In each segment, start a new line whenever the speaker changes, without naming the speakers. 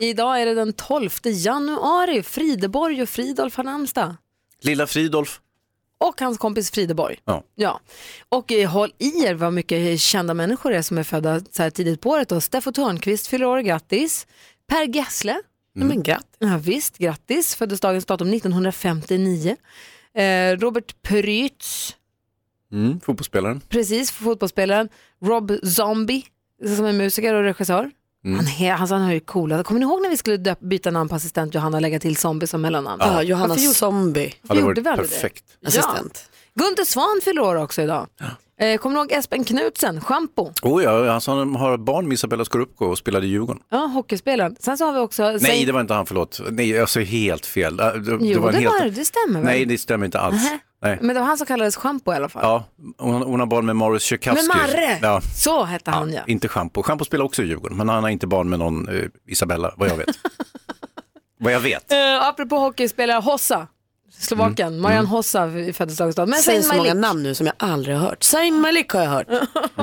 Idag är det den 12 januari. Frideborg och Fridolf har namnsdag.
Lilla Fridolf.
Och hans kompis Frideborg.
Ja.
Ja. Och eh, håll i er vad mycket kända människor är som är födda så här tidigt på året. Då. Steffo Törnqvist fyller år, grattis. Per Gessle. Men gratt. Ja, visst, grattis. Föddes dagens datum 1959. Eh, Robert Prytz.
Mm, fotbollsspelaren.
Precis, för fotbollsspelaren Rob Zombie som är musiker och regissör.
Mm.
Han, he, alltså han har ju coola, kommer ni ihåg när vi skulle döp, byta namn på assistent Johanna och lägga till Zombie som mellannamn?
Ja, Johanna
Varför gjorde-
Zombie,
Varför
Hade
gjorde
varit
vi aldrig
perfekt.
det?
assistent.
Ja. Gunter Svan fyller år också idag. Eh, kommer ni ihåg Espen Knutsen, Schampo,
Oh ja, alltså han har barn med Isabella Scorupco och spelade i Djurgården.
ja, hockeyspelaren. Sen så har vi också...
Nej, det var inte han, förlåt. Nej, jag sa helt fel. Äh, Det,
Jo,
var en
det,
helt...
var, det stämmer väl?
Nej, det stämmer inte alls.
Nähä.
Nej.
Men det var han som kallades Schampo i alla fall.
Ja, hon, hon har barn med Morris Tchaikovsky.
Men Marre!
Ja.
Så hette han ja.
Inte Schampo. Schampo spelar också i Djurgården, men han har inte barn med någon eh, Isabella, vad jag vet. vad jag vet.
Eh, apropå hockeyspelare,
Mm.
Hossa, Slovaken, Marianne Hossa i födelsedagsdag. Men
Säg
Zayn
så många
Malik,
namn nu som jag aldrig har hört. Zayn Malik har jag hört.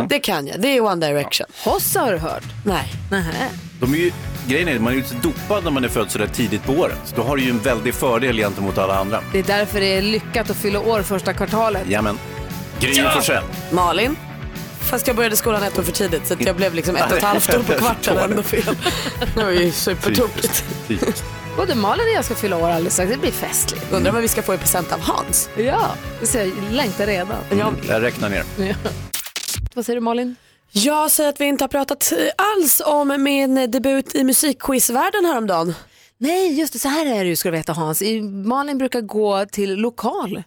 Det kan jag. Det är One Direction.
Hossa har du hört?
Nej.
Nähä.
De är ju, grejen är att man är ju inte dopad när man är född så där tidigt på året. Så Då har du ju en väldig fördel gentemot alla andra.
Det är därför det är lyckat att fylla år första kvartalet.
Jajamän. Gry Forssell.
Malin. Fast jag började skolan ett år för tidigt så att jag blev liksom ett och ett halvt år på kvarten ändå fel. Det var ju supertokigt.
Typiskt.
Både Malin och jag ska fylla år alldeles strax. Det blir festligt.
Undrar vad vi ska få i present av Hans.
Ja, så jag längtar redan.
Jag räknar ner.
Vad säger du Malin?
Jag säger att vi inte har pratat eh, alls om min debut i musikquizvärlden häromdagen.
Nej, just det. Så här är det ju ska du veta Hans. I- Malin brukar gå till lokal.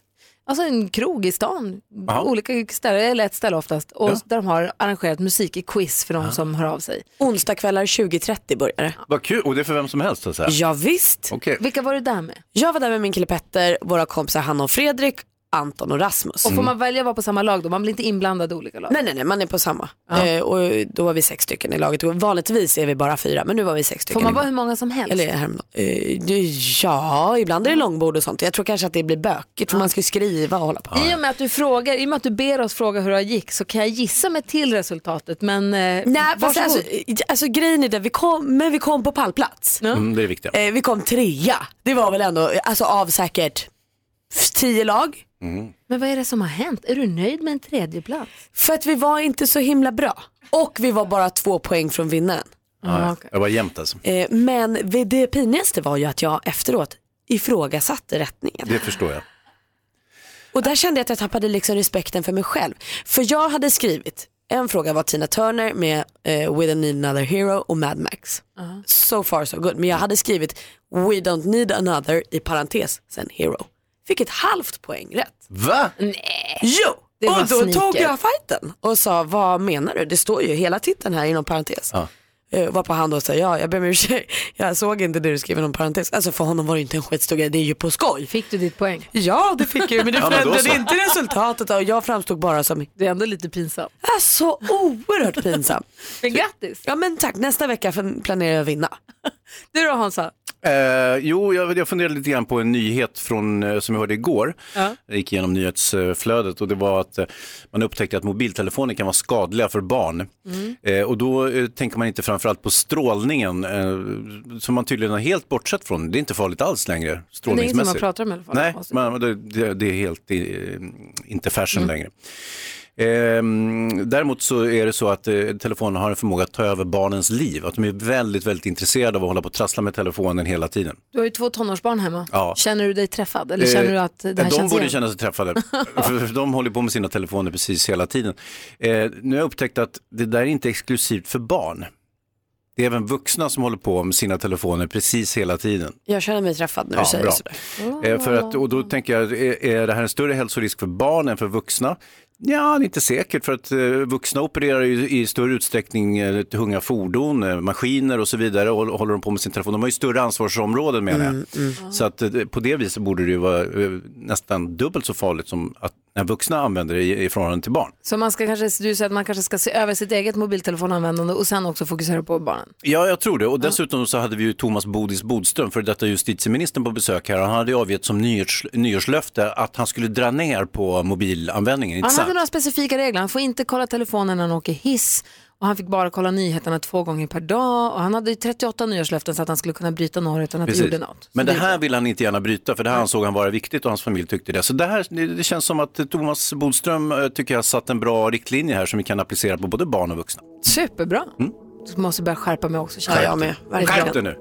Alltså en krog i stan,
Jaha.
olika ställen, eller ett ställe oftast, och
Ja.
där de har arrangerat musik i quiz för de som hör av sig.
Onsdagkvällar 20.30 börjar det.
Vad kul, och det är för vem som helst så att säga.
Ja, visst.
Okej,
Vilka var du där med?
Jag var där med min kille Petter, våra kompisar Hanna och Fredrik, Anton och Rasmus.
Och får man välja att vara på samma lag då? Man blir inte inblandad i olika lag?
Nej, nej, nej, man är på samma. Eh, och då var vi sex stycken i laget. Och vanligtvis är vi bara fyra, men nu var vi sex stycken.
Får man
i-
vara hur många som helst?
Eller häromdagen. Eh, det- ja, ibland är det långbord och sånt. Jag tror kanske att det blir bökigt för man ska ju skriva och hålla på.
I och med att du frågar, i och med att du ber oss fråga hur det gick så kan jag gissa mig till resultatet men eh,
Nej, fast
varsågod.
alltså, eh, alltså grejen är det, vi kom, men vi kom på pallplats.
mm, det är viktigt.
Eh, vi kom trea. Det var väl ändå, eh, alltså av säkert f- tio lag.
Men vad är det som har hänt? Är du nöjd med en tredjeplats?
För att vi var inte så himla bra. Och vi var bara två poäng från vinnaren.
Ja, Jag var jämnt alltså.
Eh, Men vi- det pinigaste var ju att jag efteråt ifrågasatte rättningen.
Det förstår jag.
Och där kände jag att jag tappade liksom respekten för mig själv. För jag hade skrivit, en fråga var Tina Turner med eh, We don't need another hero och Mad Max.
Uh-huh.
So far so good. Men jag hade skrivit We don't need another i parentes sen hero. Fick ett halvt poäng rätt.
Va?
Mm.
Jo!
Eh, Det var
och då
sniket.
tog jag fighten och sa vad menar du? Det står ju hela titeln här inom parentes.
Ja.
Eh, varpå han då sa ja jag ber om ursäkt, jag såg inte det du skrev inom parentes. Alltså för honom var det ju inte en skitstor grej, det är ju på skoj.
Fick du ditt poäng?
Ja det fick jag ju, men det
Ja, men då
förändrade
så.
inte resultatet och jag framstod bara som
Det är ändå lite pinsamt.
"Ah, så oerhört pinsam.
Men grattis!
Ja men tack, nästa vecka för- planerar jag att vinna.
Du då Hansa?
Eh, jo, jag, jag funderade lite grann på en nyhet från, eh, som jag hörde igår.
Ja.
Jag gick igenom nyhetsflödet och det var att eh, man upptäckte att mobiltelefoner kan vara skadliga för barn.
Mm.
Eh, och då eh, tänker man inte framförallt på strålningen eh, som man tydligen har helt bortsett från. Det är inte farligt alls
Det är
längre
inget som man
strålningsmässigt.
pratar om i alla fall.
Nej,
Alltså.
man, det- det, det är helt eh, inte fashion
Mm.
längre. Ehm, däremot så är det så att eh, telefonen har en förmåga att ta över barnens liv. Att de är väldigt, väldigt intresserade av att hålla på och trassla med telefonen hela tiden.
Du har ju två tonårsbarn hemma.
Ja.
Känner du dig träffad eller känner du att det här
Eh, de
känns
borde
igen?
känna sig träffade, för de håller på med sina telefoner precis hela tiden. Eh, nu har jag upptäckt att det där är inte exklusivt för barn. Det är även vuxna som håller på med sina telefoner precis hela tiden.
Jag känner mig träffad när du
Ja,
säger
bra.
sådär.
Eh, för att, och då tänker jag, är, är det här en större hälsorisk för barn än för vuxna? Ja, det är inte säkert för att eh, vuxna opererar ju i större utsträckning eh, tunga fordon, eh, maskiner och så vidare och håller de på med sin telefon. De har ju större ansvarsområden menar jag.
Mm,
Så att eh, på det viset borde det ju vara eh, nästan dubbelt så farligt som att när vuxna använder det i, i förhållande till barn.
Så man ska kanske, du säger att man kanske ska se över sitt eget mobiltelefonanvändande och sen också fokusera på barnen.
Ja, jag tror det. Och dessutom så hade vi ju Thomas Bodis Bodström, för detta justitieministern på besök här. Och han hade ju avgett som nyårs, nyårslöfte att han skulle dra ner på mobilanvändningen. Inte
Han hade
sant?
några specifika regler. Han får inte kolla telefonen när han åker hiss och han fick bara kolla nyheterna två gånger per dag. Och han hade ju 38 nyårslöften så att han skulle kunna bryta några utan att det
Precis.
gjorde något.
Men
Så
det här vill han inte gärna bryta för det här ansåg han vara viktigt och hans familj tyckte det. Så det, här, det- det känns som att Thomas Bodström eh, tycker jag har satt en bra riktlinje här som vi kan applicera på både barn och vuxna.
Superbra. Du måste börja skärpa mig också.
Ja,
känner
jag med.
Mm. Skärp
Verkligen.
dig nu!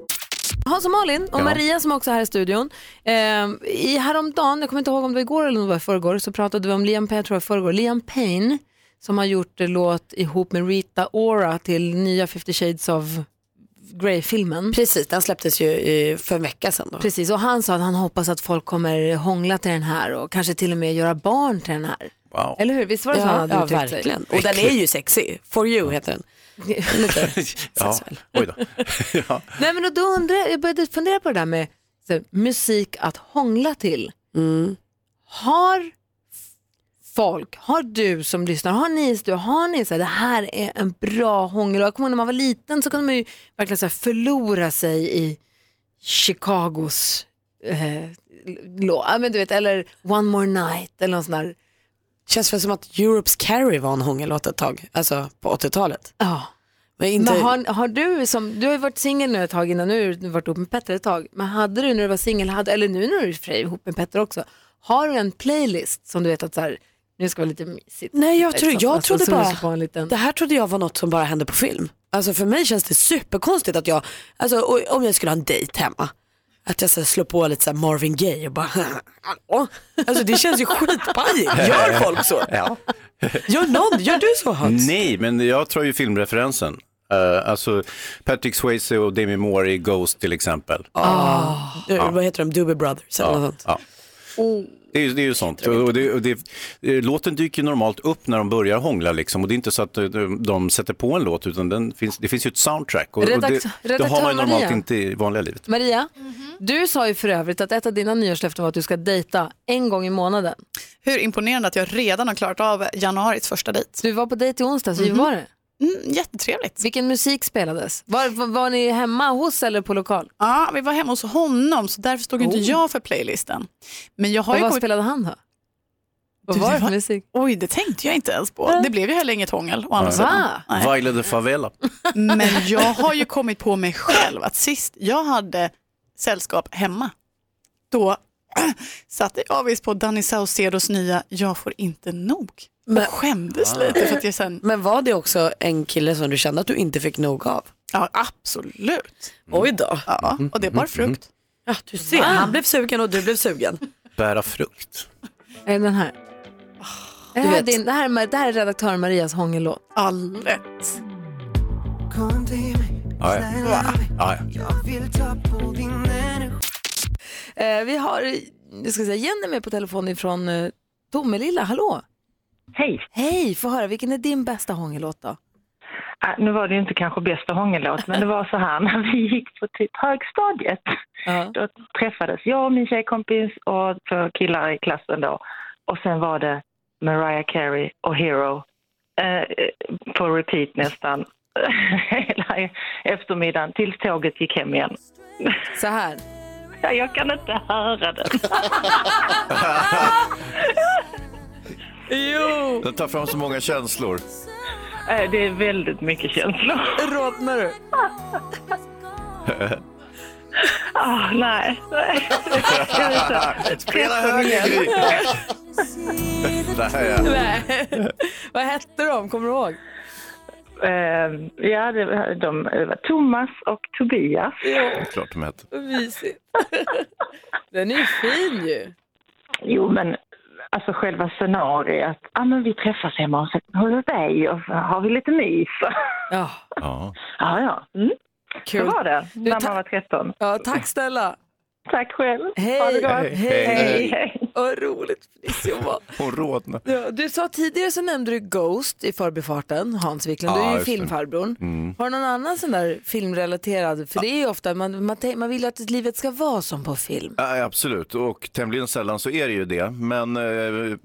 Hans och Malin och
Ja.
Maria som också är här i studion. Ehm, i häromdagen, jag kommer inte ihåg om det var igår eller om det var i förrgår, så pratade vi om Liam Payne, jag tror jag förrgår, Liam Payne som har gjort eh, låt ihop med Rita Ora till nya 50 Shades of Grey-filmen.
Precis, den släpptes ju eh, för en vecka sedan. Då.
Precis, och han sa att han hoppas att folk kommer hångla till den här och kanske till och med göra barn till den här.
Wow.
Eller hur? Visst var det så
Ja,
han hade
ja,
uttryckt sig?
verkligen. Och den är ju sexy. For you heter den.
Ja, oj då. ja.
Nej, men och då undrar jag, jag började fundera på det där med så, här, musik att hångla till. Mm. Har f- folk, har du som lyssnar, har ni i studion, har ni så här, det här är en bra hångel? Och Jag kommer ihåg när man var liten så kunde man ju verkligen så här, förlora sig i Chicagos eh, lå- ja, men du vet, eller One More Night eller någon sån där.
Känns väl som att Europe's Carry var en hångellåt ett tag, alltså på 80-talet.
Ja.
Men inte...
Men har, har du, som, du har ju varit singel nu ett tag innan, nu har du varit ihop med Petter ett tag, men hade du när du var singel, hade- eller nu när du är i och för sig ihop med Petter också, har du en playlist som du vet att så här, nu ska vara lite mysigt?
Nej, jag,
Liksom,
tror, jag
alltså,
trodde
som lyssnar på
bara,
en liten...
det här trodde jag var något som bara hände på film. Alltså för mig känns det superkonstigt att jag, alltså o- om jag skulle ha en dejt hemma, att jag så här slår på lite så här Marvin Gaye och bara, hallå? Alltså det känns ju skitpajigt, gör folk så?
Ja.
Gör någon, gör du så Hans?
Nej, men jag tror ju filmreferensen. Eh, alltså Patrick Swayze och Demi Moore i Ghost till exempel.
Ah.
Du, Ah. Eh, Vad heter de, Doobie Brothers eller något sånt.
Ja. Det är, ju- det är ju sånt. Och det, och det, eh, låten dyker ju normalt upp när de börjar hångla. Liksom. Och det är inte så att eh, de, de sätter på en låt, utan den finns, det finns ju ett soundtrack. Och, och
Redakt-
det, det har man ju
redaktör
normalt
Maria.
inte i vanliga livet.
Maria, du sa ju för övrigt att ett av dina nyårslöften var att du ska dejta en gång i månaden.
Hur imponerande att jag redan har klarat av januaris första dejt.
Du var på dejt i onsdags,
Mhm.
hur var det?
Mm, jättetrevligt.
Vilken musik spelades? Var, var, var ni hemma hos eller på lokal?
Ja, vi var hemma hos honom så därför stod ju inte
Oh.
jag för playlisten. Men jag har
Och
ju
vad
kommit...
spelade han då? Vad
Du,
var
det
det för
var-
musik?
Oj, det tänkte jag inte ens på. Det blev ju heller inget hångel å andra sidan.
Va?
Nej.
Vaila de Favela.
Men jag har ju kommit på mig själv att sist jag hade sällskap hemma, då satte jag visst på Danny Saucedos nya Jag får inte nog.
Men-
Och skämdes lite för att jag sen,
Men var det också en kille som du kände att du inte fick nog av?
ja absolut.
Mm.
Oj då. Ah.
Ja, och det var frukt.
Ja, du ser, han blev sugen och du blev sugen.
Bära frukt.
Är det Eh, den här? Ah, Är det, här
vet.
din, det, här, är- det här är redaktör Marias hångellåt.
All rätt.
Ja, ja. Ja, Ah, ja.
Eh, vi har jag ska säga, Jenny med på telefon ifrån eh, Tomelilla. Hallå!
Hej!
Hej! Få höra, vilken är din bästa hångellåt då?
Ah, nu var det ju inte kanske bästa hångellåt, men det var så här när vi gick på typ högstadiet.
Ja.
Då träffades jag och min tjejkompis och två killar i klassen då. Och sen var det Mariah Carey och Hero eh, på repeat nästan hela eftermiddagen tills tåget gick hem igen.
Så här.
Ja, jag kan inte höra den.
Den tar fram så många känslor.
Eh, det är väldigt mycket känslor.
Rodnar du?
Ah, nej.
Spela höger, Gry. Där, ja.
Nej. Vad hette de? Kommer du ihåg?
Eh, ja, det, de, det var Thomas och Tobias.
Det är klart de heter.
Vad mysigt. Den är ju fin ju.
Jo, men alltså själva scenariet. Ja, men vi träffas hemma och så håller vi dig och så har vi lite mys.
Ja,
Ja.
Ja, ja. Mm. Så
kul.
var det
Du,
när
ta-
man var 13.
Ja, tack snälla.
Tack själv. Ha det
Hej!
gott.
Hej!
Hej.
Hej.
Hej.
Vad roligt Felicia var.
Hon rodnar.
Ja, Du sa tidigare så nämnde du Ghost i förbifarten, Hans Wiklund, du
Ja,
är ju
just det. Mm.
filmfarbrorn. Har du någon annan sån där filmrelaterad, för det är ju ofta, man, man, tän- man vill ju att livet ska vara som på film.
Ja, absolut, och tämligen sällan så är det ju det. Men eh,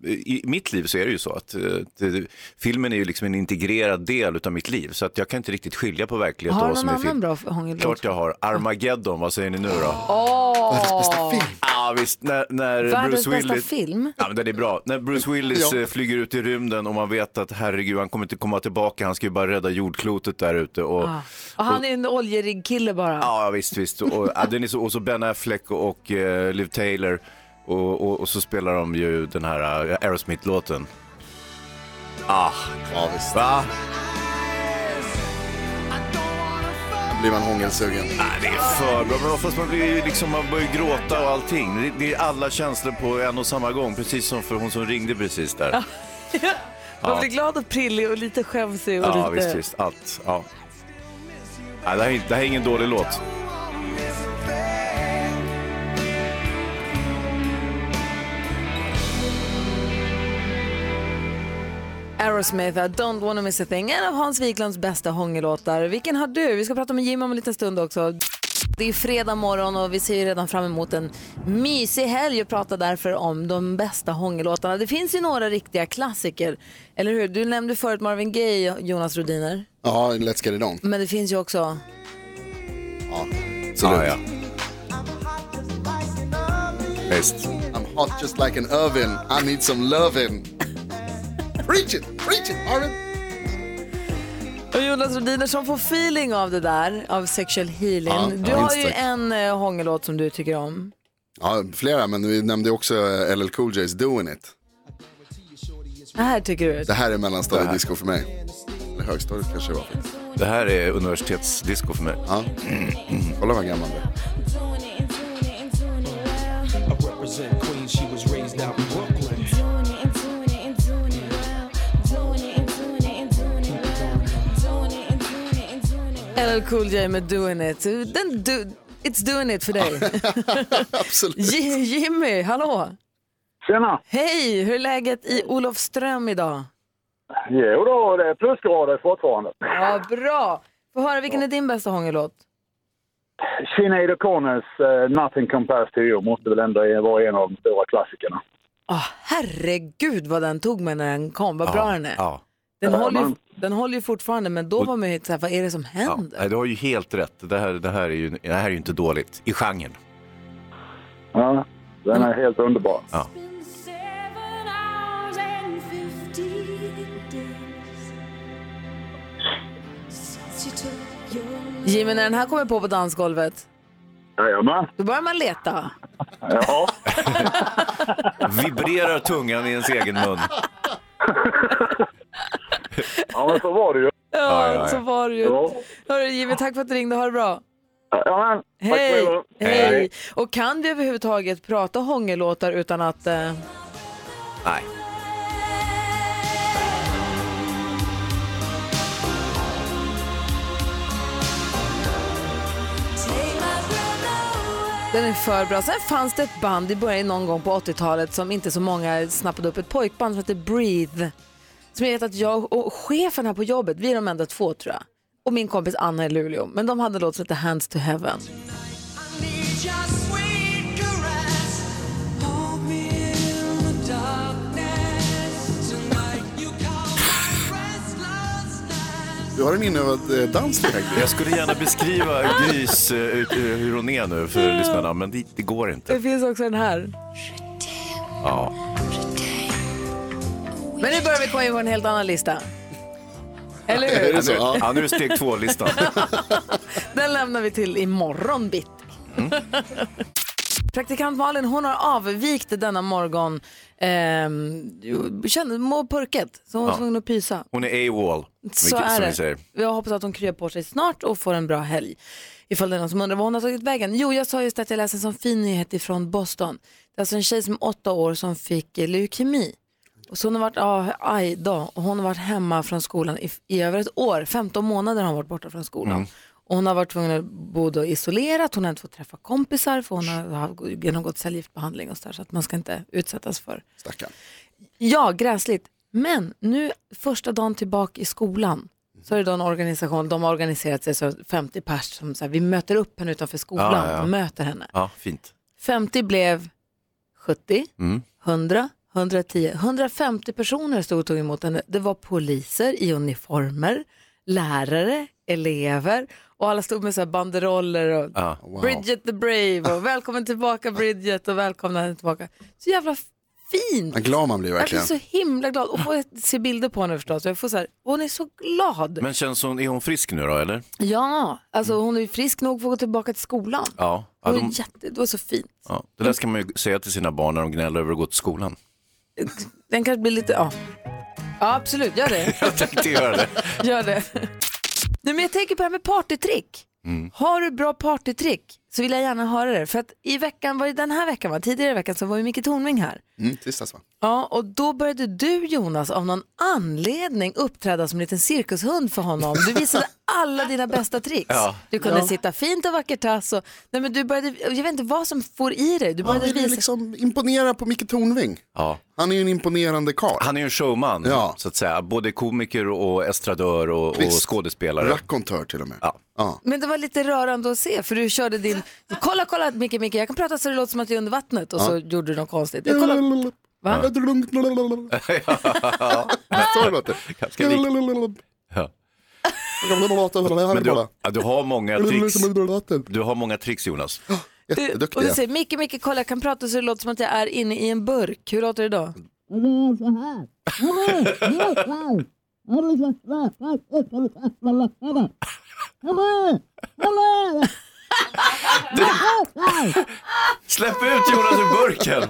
i mitt liv så är det ju så att eh, det, filmen är ju liksom en integrerad del utav mitt liv. Så att jag kan inte riktigt skilja på verklighet och
Har du
vad
någon
som är
annan
film.
bra hångellåt?
Klart jag har. Armageddon, vad säger ni nu då?
Världens bästa film.
Ja visst, när, när
Världens
Bruce
bästa
Willis...
film?
Ja, men den är bra. När Bruce Willis eh, flyger ut i rymden och man vet att herregud, han kommer inte komma tillbaka, han ska ju bara rädda jordklotet där ute. Och...
Ja. Och han är en oljerigg-kille bara.
Ja, ja, visst, visst. Och, ja, den är så, och så Ben Affleck och, och eh, Liv Taylor. Och, och, och så spelar de ju den här eh, Aerosmith-låten. Ah,
Ja, visst.
va?
Då blir man hångelsugen.
Ah, det är för bra. Men fast man blir ju liksom, man börjar ju gråta och allting. Det, det är alla känslor på en och samma gång, precis som för hon som ringde precis där.
Man blir glad och prillig och lite skämsig och lite...
Ja, visst, visst. Allt. Ja. Nej, det, här, är- det här är ingen dålig låt.
Aerosmith, I don't wanna miss a thing, en av Hans Wiklunds bästa hångellåtar. Vilken har du? Vi ska prata med Jim om en liten stund också. Det är fredag morgon och vi ser ju redan fram emot en mysig helg och pratar därför om de bästa hångellåtarna. Det finns ju några riktiga klassiker, eller hur? Du nämnde förut Marvin Gaye, Jonas Rhodiner.
Ja, Let's Get It On.
Men det finns ju också...
Ja, ja.
Visst. I'm hot just like an oven. I need some lovin'. Preach it, preach it, Arvin.
Och Jonas Rhodiner som får feeling av det där, av sexual healing.
Ja,
du
ja,
har
minst
ju
sagt.
en eh, hångellåt som du tycker om.
Ja, flera, men vi nämnde också eh, LL Cool J's Doing It.
Det här tycker du?
Det här är mellanstadiedisco för mig. Eller högstadiet kanske det var. faktiskt.
Det här är universitetsdisco för mig.
Ja. Kolla vad gammal du är.
LL Cool J med Doing It. Den do, it's doing it för dig.
Absolut.
J- Jimmy, hallå!
Tjena!
Hej, hur är läget i Olofström idag?
Jo då, det är plusgrader fortfarande.
Ja, bra! Få höra, vilken är din bästa hångellåt?
Sinéad O'Connors eh, Nothing Compares To You måste väl ändå vara en av de stora klassikerna.
Oh, herregud vad den tog mig när den kom, vad bra den är.
Ja.
Den, håller ju,
man.
den håller ju fortfarande, men då var man ju så här, vad är det som
Ja,
händer?
nej, du har ju helt rätt. Det här, det här, är, ju, det här är ju inte dåligt i genren.
Ja, den är helt underbar.
Jimmy, när den här kommer på på dansgolvet,
Jajamän.
då börjar man leta.
Ja.
Vibrerar tungan i ens egen mun.
ja, men så var det ju.
Ja,
Ja, ja, ja.
så var det ju.
Ja.
Hörru, Jimmy, tack för att du ringde, ha det bra.
Jajamän. Tack
Hej!
själva.
Hej! Och kan vi överhuvudtaget prata hångellåtar utan att... Eh...
Nej.
Den är för bra. Sen fanns det ett band i början någon gång på 80-talet som inte så många snappade upp. Ett pojkband som hette Breathe. Som jag vet att jag och chefen här på jobbet, vi är de enda två tror jag. Och min kompis Anna i Luleå. Men de hade en låt som hette Hands to Heaven.
Du har en inövad eh, dans direkt.
Jag skulle gärna beskriva Grys, eh, ut- eh, hur hon är nu för lyssnarna, men det, det går
Det
inte.
finns också den här.
Ja.
Men nu börjar vi komma in på en helt annan lista. Eller
Är
hur?
Mm.
det så? Ja.
Alltså, Ja, nu är det steg två-listan.
Den lämnar vi till imorgon bitti. Praktikant Malin hon har avvikt denna morgon. Ehm, jo, kände, må purket, så hon var
Ja.
tvungen att pysa.
Hon är AWOL,
Så
vilket, som
är
vi säger.
det. Jag hoppas att hon kryar på sig snart och får en bra helg. Ifall det är någon som undrar vad hon har tagit vägen. Jo, jag sa just att jag läste en sån fin nyhet ifrån Boston. Det är alltså en tjej som är åtta år som fick eh, leukemi. Och så hon har varit, ja, aj
Mm.
då, och hon har varit hemma från skolan i, i över ett år. 15 månader har hon varit borta från skolan. Och hon har varit tvungen att bo då isolerat, hon har inte fått träffa kompisar för hon har haft- genomgått cellgiftbehandling och sådär så att man ska inte utsättas för.
Stackarn.
Ja, gräsligt. Men nu första dagen tillbaka i skolan så är det då en organisation, de har organiserat sig så 50 pers som så här, vi möter upp henne utanför skolan
Ja, ja, ja.
och möter henne.
Ja, fint.
50 blev 70,
Mm.
100, 110, 150 personer stod och tog emot henne. Det var poliser i uniformer, lärare, elever och alla stod med så här banderoller och
Ja.
Wow.
Bridget the Brave och välkommen tillbaka Bridget och välkomna henne tillbaka. Så jävla fint.
Vad glad man blir
Jag blir
verkligen.
så himla glad och får se bilder på henne förstås. Jag får så här, hon är så glad.
Men känns hon, är hon frisk nu då eller?
Ja, alltså hon är ju frisk nog för att gå tillbaka till skolan.
Ja. Ja,
Hon
de,
är jätte, det var så fint.
ja. Det där ska man ju säga till sina barn när de gnäller över att gå till skolan.
Den kanske blir lite, ja. Ja absolut, gör det.
Jag tänkte göra det.
Gör det. Nej, men jag tänker på det här med partytrick.
Mm.
Har du bra partytrick så vill jag gärna höra det. För att i veckan, var det den här veckan va? Tidigare i veckan så var ju Micke Tornving här.
Mm, tisdags va?
Ja, och då började du Jonas av någon anledning uppträda som en liten cirkushund för honom. Du visade alla dina bästa tricks.
Ja.
Du kunde sitta fint och vackert tass och, nej men du började, jag vet inte vad som får i dig. Du
Han
började
vill ju
visa,
liksom imponera på Micke Tornving.
Ja.
Han är ju en imponerande karl.
Han är ju en showman,
Ja.
så att säga. Både komiker och estradör och, och
Visst.
skådespelare.
Racontör till och med.
Ja.
men det var lite rörande att se för du körde din, kolla kolla Micke Micke jag kan prata så det låter som att jag är under vattnet och så gjorde du något konstigt. Jag kollar, Va?
Så det låter.
Ganska likt. Ja. Men du, ja, du, har många tricks. du har många tricks Jonas.
Du, och du
Jätteduktiga.
säger Micke, Micke, kolla jag kan prata så det låter som att jag är inne i en burk. Hur låter det då?
Släpp ut Jonas ur burken!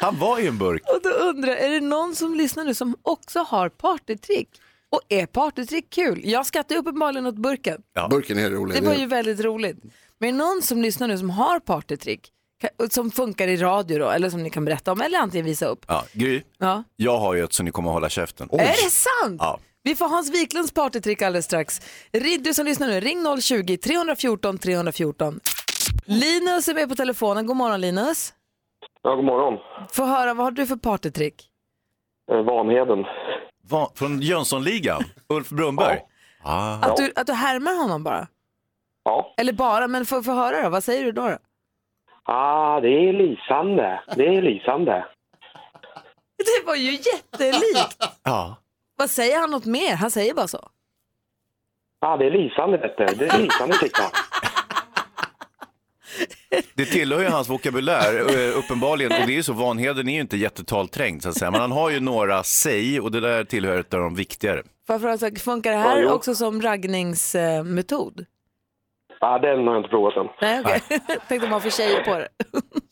Han var ju en burk.
Och då undrar jag, är det någon som lyssnar nu som också har partytrick? Och är partytrick kul? Jag skrattar ju uppenbarligen åt burken.
Burken är rolig.
Det var ju väldigt roligt. Men är det någon som lyssnar nu som har partytrick? Ka- och Som funkar i radio då, eller som ni kan berätta om, eller antingen visa upp.
Ja, Gry,
Ja.
jag har ju ett så ni kommer hålla käften.
Är det sant?
Ja.
Vi får Hans Wiklunds partytrick alldeles strax. Rid- Du som lyssnar nu, ring 020-314 314. Linus är med på telefonen. God morgon Linus.
Ja, god morgon.
Få höra, vad har du för partytrick?
Eh, Vanheden.
Va, från Jönssonligan, Ulf Brunnberg. Ah.
Att, du, att du härmar honom bara?
Ja.
Eller bara, men få få höra då. Vad säger du då? då?
Ah, det är lysande. Det är lysande.
Det var ju jättelikt.
Ja.
vad säger han något mer? Han säger bara så.
Ja, ah, det är lysande vet du. Det är lysande tycker jag.
Det tillhör ju hans vokabulär eh, uppenbarligen och det är ju så, Vanheden är ju inte jättetalträngd så att säga. Men han har ju några säg och det där tillhör ett av de viktigare.
Varför alltså, funkar det
Ja,
här
jo.
också som raggningsmetod?
Ah, den har jag inte provat än.
Nej, okej. Tänkte om man får tjejer på det.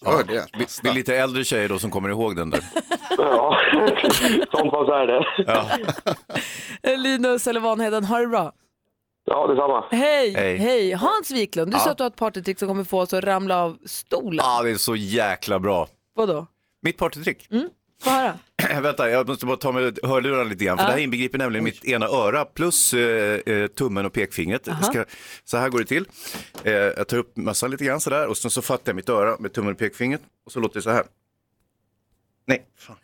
Hör det.
Det är lite äldre tjejer då som kommer ihåg den där.
Ja, sånt var så är det.
Eh, Linus eller Vanheden, ha det bra.
Ja, detsamma.
Hej, hej.
Hej.
Hans Wiklund, du sa att du har ett partytrick som kommer få oss att ramla av stolen.
Ja, ah, det är så jäkla bra.
Vadå?
Mitt partytrick.
Få höra.
Eh, Vänta, jag måste bara ta med hörlurarna lite grann. För Det här inbegriper nämligen mitt ena öra plus eh, eh, tummen och pekfingret. Jag Ska, så här går det till. Eh, jag tar upp mössan lite grann sådär och sen så fattar jag mitt öra med tummen och pekfingret och så låter det så här. Nej, fan.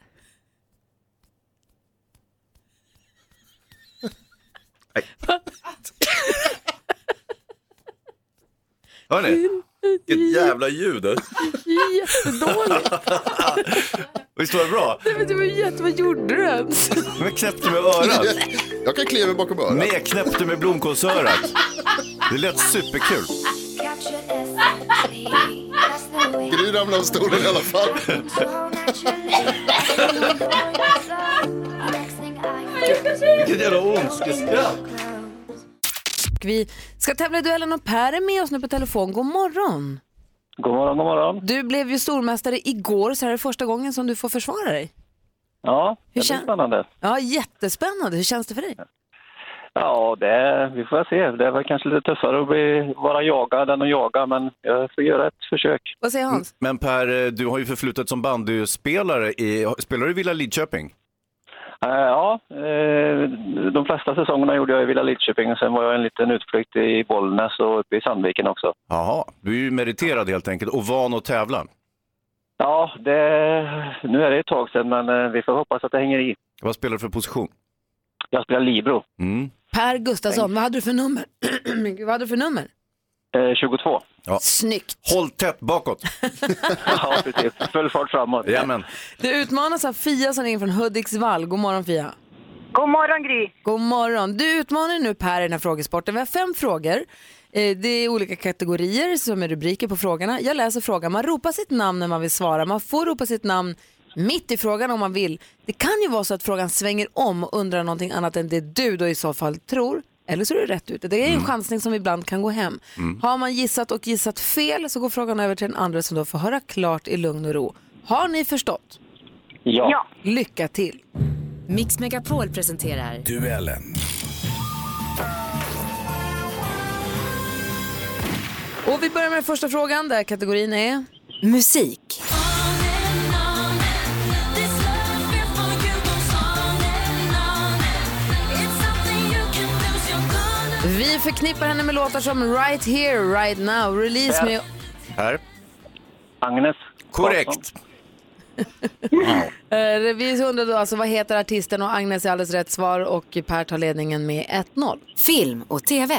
Nej. Hör ni? Vilket jävla ljud.
Jättedåligt.
Visst var det bra?
Men det var ju jätte... Vad gjorde du ens?
Jag knäppte med örat.
Jag kan klia mig bakom örat.
Nej, jag knäppte med blomkålsörat. Det lät superkul.
Gry ramlade av stolen i alla fall.
Vilket jävla ondskeskratt.
Vi ska tävla i duellen och Per är med oss nu på telefon. God morgon.
God morgon, god morgon.
Du blev ju stormästare igår så här är det första gången som du får försvara dig.
Ja,
Hur
det blir
kän-
spännande.
Ja, jättespännande. Hur känns det för dig?
Ja, det, vi får se. Det var kanske lite tuffare att bli, vara jagad än att jaga, men jag får göra ett försök.
Vad säger
Mm.
Hans?
Men Per, eh, du har ju förflutet som bandyspelare. I, spelar du i Villa Lidköping?
Eh, Ja, eh, de flesta säsongerna gjorde jag i Villa Lidköping och sen var jag en liten utflykt i Bollnäs och uppe i Sandviken också.
Jaha, du är ju meriterad helt enkelt och van att tävla.
Ja, det, nu är det ett tag sedan men eh, vi får hoppas att det hänger i.
Vad spelar du för position?
Jag spelar Libro,
Mm.
Per Gustafsson, vad hade du för nummer? Men Gud, vad hade du för nummer?
eh, 22.
Ja.
Snyggt.
Håll tätt bakåt.
Ja, precis. Full fart framåt.
Jajamän.
Du utmanas av Fia som ringer från Hudiksvall. God morgon Fia.
God morgon Gry!
God morgon. Du utmanar nu Per i den här frågesporten. Vi har fem frågor. Eh, Det är olika kategorier som är rubriker på frågorna. Jag läser frågan. Man ropar sitt namn när man vill svara. Man får ropa sitt namn mitt i frågan om man vill. Det kan ju vara så att frågan svänger om och undrar någonting annat än det du då i så fall tror. Eller så är du rätt ute. Det är en chansning som ibland kan gå hem. Har man gissat och gissat fel så går frågan över till den andra som då får höra klart i lugn och ro. Har ni förstått?
Ja.
Ja.
Lycka till!
Mix Megapol presenterar
Och vi börjar med den första frågan där kategorin är
musik.
Vi förknippar henne med låtar som Right here, right now, release me...
Här.
Agnes.
Korrekt.
Karlsson.
Eh, vi undrar då alltså vad heter artisten och Agnes är alldeles rätt svar och Per tar ledningen med 1-0.
Film och TV.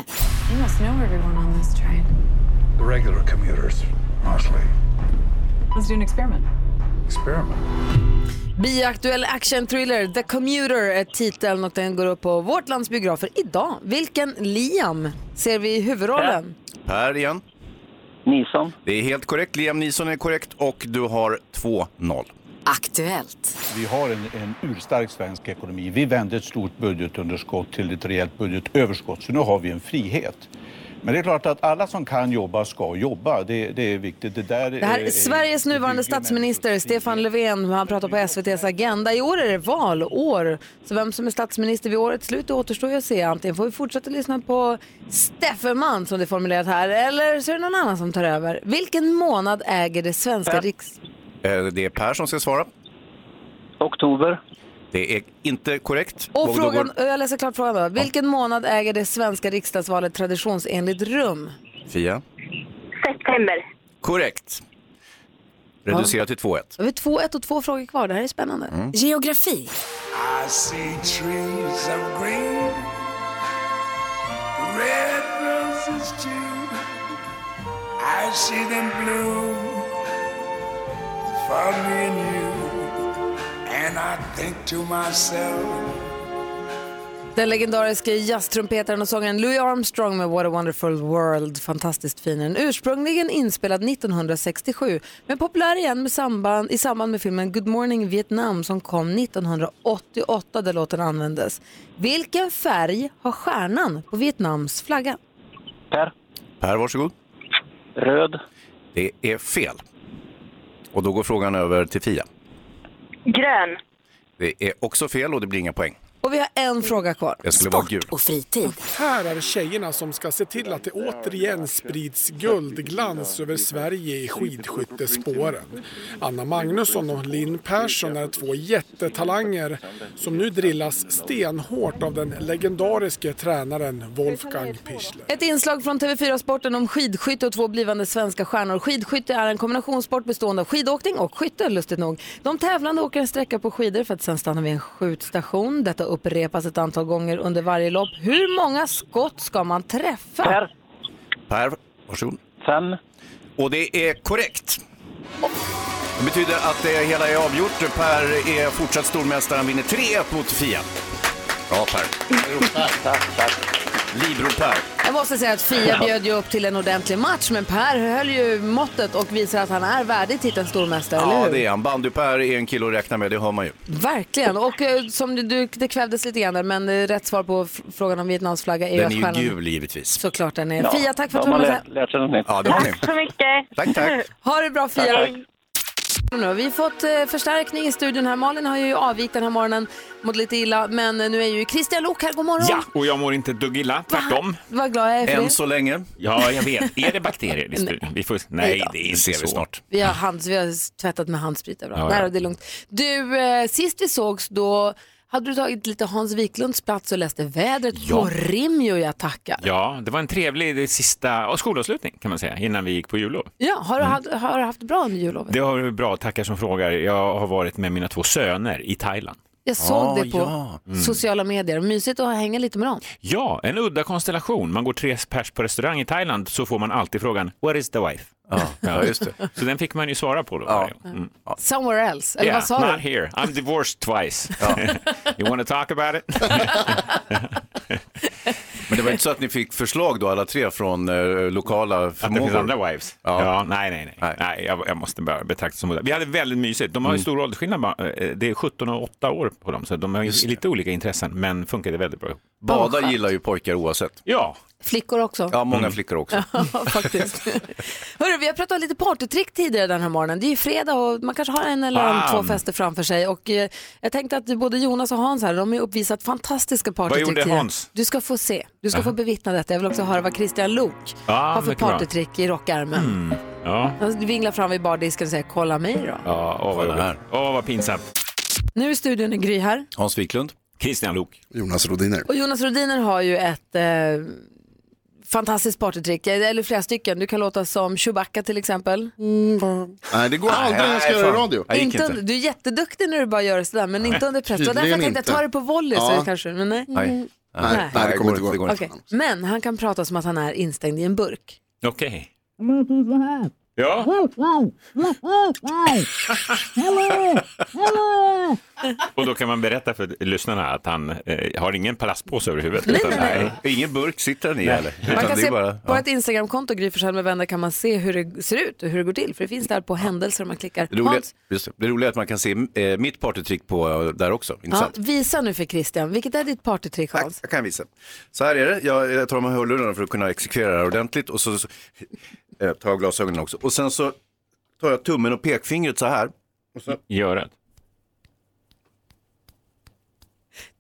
Regular commuters, mostly.
Let's do an experiment.
Experiment.
Bioaktuell action-thriller The Commuter är titeln och den går upp på vårt lands biografer idag. Vilken Liam ser vi i huvudrollen?
Här igen.
Nilsson.
Det är helt korrekt. Liam Neeson är korrekt och du har 2-0.
Aktuellt.
Vi har en, en urstark svensk ekonomi. Vi vände ett stort budgetunderskott till ett rejält budgetöverskott, så nu har vi en frihet. Men det är klart att alla som kan jobba ska jobba. Det, det är viktigt. Det, där
Det här är Sveriges nuvarande statsminister Stefan Löfven. Han pratar på SVTs Agenda. I år är det valår, så vem som är statsminister vid årets slut det återstår ju att se. Antingen får vi fortsätta lyssna på Steffeman som det är formulerat här, eller så är det någon annan som tar över. Vilken månad äger det svenska riks...
Eh, Det är Per som ska svara.
Oktober.
Det är inte korrekt.
Och
då
frågan,
går-
jag läser klart frågan då. Vilken månad äger det svenska riksdagsvalet traditionsenligt rum?
Fia.
September.
Korrekt. Reducerat till 2-1.
Då har vi 2-1 och två frågor kvar. Det här är spännande.
I
Geografi.
see trees of green, red roses too. I see them bloom for me and you. And I think to myself,
Den legendariske jazztrumpetaren och sångaren Louis Armstrong med What a wonderful world. Fantastiskt fin. Den ursprungligen inspelad 1967 men populär igen med samband, i samband med filmen Good Morning Vietnam som kom 1988 där låten användes. Vilken färg har stjärnan på Vietnams flagga?
Per.
Per, varsågod.
Röd.
Det är fel. Och då går frågan över till Fia.
Grön.
Det är också fel och det blir inga poäng.
Och vi har en fråga kvar.
Det skulle vara gul.
Och fritid.
Här är tjejerna som ska se till att det återigen sprids guldglans över Sverige i skidskyttespåren. Anna Magnusson och Linn Persson är två jättetalanger som nu drillas stenhårt av den legendariske tränaren Wolfgang Pichler.
Ett inslag från TV4 Sporten om skidskytte och två blivande svenska stjärnor. Skidskytte är en kombinationssport bestående av skidåkning och skytte, lustigt nog. De tävlande åker en sträcka på skidor för att sedan stanna vid en skjutstation. Detta upprepas ett antal gånger under varje lopp. Hur många skott ska man träffa?
Per.
Per, varsågod.
Fem.
Och det är korrekt. Det betyder att det hela är avgjort. Per är fortsatt stormästare. Han vinner 3-1 mot Fia. Bra Per.
Tack, tack.
Libro-Per.
Jag måste säga att Fia bjöd ju upp till en ordentlig match, men Per höll ju måttet och visar att han är värdig titeln stormästare, eller
Ja,
hur?
det är han. Bandy-Per är en kille att räkna med, det hör man ju.
Verkligen. Och eh, som du- du, det kvävdes lite grann där, men eh, rätt svar på f- frågan om Vietnams flagga är ju
Den
att
är
stjärnan...
ju gul givetvis.
Såklart den är.
Ja,
Fia, tack för att
de
du var
har
med.
lärt, lärt sig något nytt.
Ja, det var ni.
Så mycket.
Tack, tack.
Ha det bra Fia.
Tack.
Nu har vi fått eh, förstärkning i studion här. Malin har ju avvikt den här morgonen, mått lite illa, men eh, nu är ju Christian Lok här. God morgon.
Ja, och jag mår inte ett dugg illa, tvärtom.
Vad glad jag är för
Än
det.
så länge.
Ja, jag vet. Är det bakterier i studion? Vi får... Nej, det är
Det
inte
ser vi
så.
snart.
Vi har, hands, vi har tvättat med handsprit överallt.
Ja, ja.
Nej, då, det är lugnt. Du, eh, sist vi sågs då Hade du tagit lite Hans Wiklunds plats och läste vädret
Ja.
på rim ju jag tackar.
Ja, det var en trevlig det sista och skolavslutning kan man säga innan vi gick på jullov.
Ja, har du, haft- har du haft bra under jullovet?
Mm. Det har varit bra, tackar som frågar. Jag har varit med mina två söner i Thailand.
Jag såg det på
Mm.
sociala medier. Mysigt att hänga lite med dem.
Ja, en udda konstellation. Man går tre pers på restaurang i Thailand så får man alltid frågan “Where is the wife?”
ja, just det.
Så den fick man ju svara på då. Ja. Mm.
Somewhere else, eller
yeah,
vad sa
not
du?
here. I'm divorced twice. you want to talk about it?
Men det var inte så att ni fick förslag då alla tre från eh, lokala
Att det
förmågor?
finns andra wives? Ja. nej, nej, nej. nej. jag, jag måste bara betrakta som Vi hade väldigt mysigt. De har ju
Mm.
stor åldersskillnad. bara. Eh, Det är 17 och 8 år på dem, så de har ju lite olika intressen, men funkade väldigt bra.
Bada Vad skönt. gillar
ju pojkar oavsett. Ja.
Flickor också.
Mm.
flickor
Ja, faktiskt. Hörru, vi har pratat lite partytrick tidigare den här morgonen. Det är ju fredag och man kanske har en eller
Fan.
två fester framför sig. Och eh, jag tänkte att både Jonas och Hans här, de har ju uppvisat fantastiska
gjorde
partytrick.
Hans?
Du ska få se. Du ska
Aha.
få bevittna detta. Jag vill också höra vad Christian Lok
Ja,
har för
mycket bra.
partytrick i rockärmen.
Mm. Ja.
Han vinglar fram vid bardisken och säger kolla mig då.
Ja, åh vad jobbigt. Åh vad pinsamt.
Nu är studion i Gry här.
Hans Wiklund.
Christian Lok.
Jonas Rodiner.
Och Jonas Rodiner har ju ett eh, fantastiskt partytrick, eller flera stycken. Du kan låta som Chewbacca till exempel.
Nej, det går aldrig när jag ska göra radio.
Inte under- Du är jätteduktig när du bara gör sådär, men
Nej,
inte under press. Det var därför jag
tydligen
tänkte
inte.
ta det på volley.
Ja.
Så kanske, men nej.
Nej.
Mm.
Nej, nej, det kommer inte gå. Det går inte.
Okej. Men han kan prata som att han är instängd i en burk.
Okej. Ja.
Hello! Hello!
Och då kan man berätta för lyssnarna att han eh, har ingen plastpåse över huvudet.
Nej,
utan-
nej, nej.
Ingen burk sitter han i
heller.
Man kan se på ett Instagramkonto, Gry Forssell med vänner, kan man se hur det ser ut och hur det går till. För det finns där på händelser om man klickar.
Det roliga,
Hans,
just det, det roliga är att man kan se eh, mitt partytrick på eh, där också.
ja,
Intressant.
visa nu för Christian, vilket är ditt partytrick Hans?
Jag kan visa. Så här är det, jag, jag tar de här hörlurarna för att kunna exekvera det här ordentligt och så, så eh, tar jag glasögonen också. Och sen så tar jag tummen och pekfingret så här. Och så,
I örat.